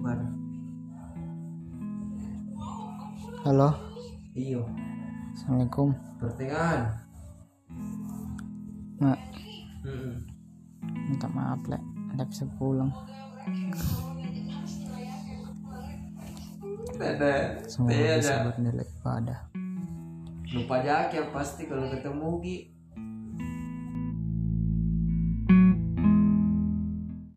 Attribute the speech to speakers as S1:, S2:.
S1: Bar.
S2: Halo,
S1: Iyo, kan?
S2: Assalamualaikum.
S1: pertengahan.
S2: Mak,
S1: Heeh.
S2: minta maaf lek, ndak bisa pulang.
S1: Ada.
S2: Semua
S1: Teh
S2: bisa
S1: ada.
S2: buat nilai pada.
S1: Lupa aja Aki, yang pasti kalau ketemu Ki.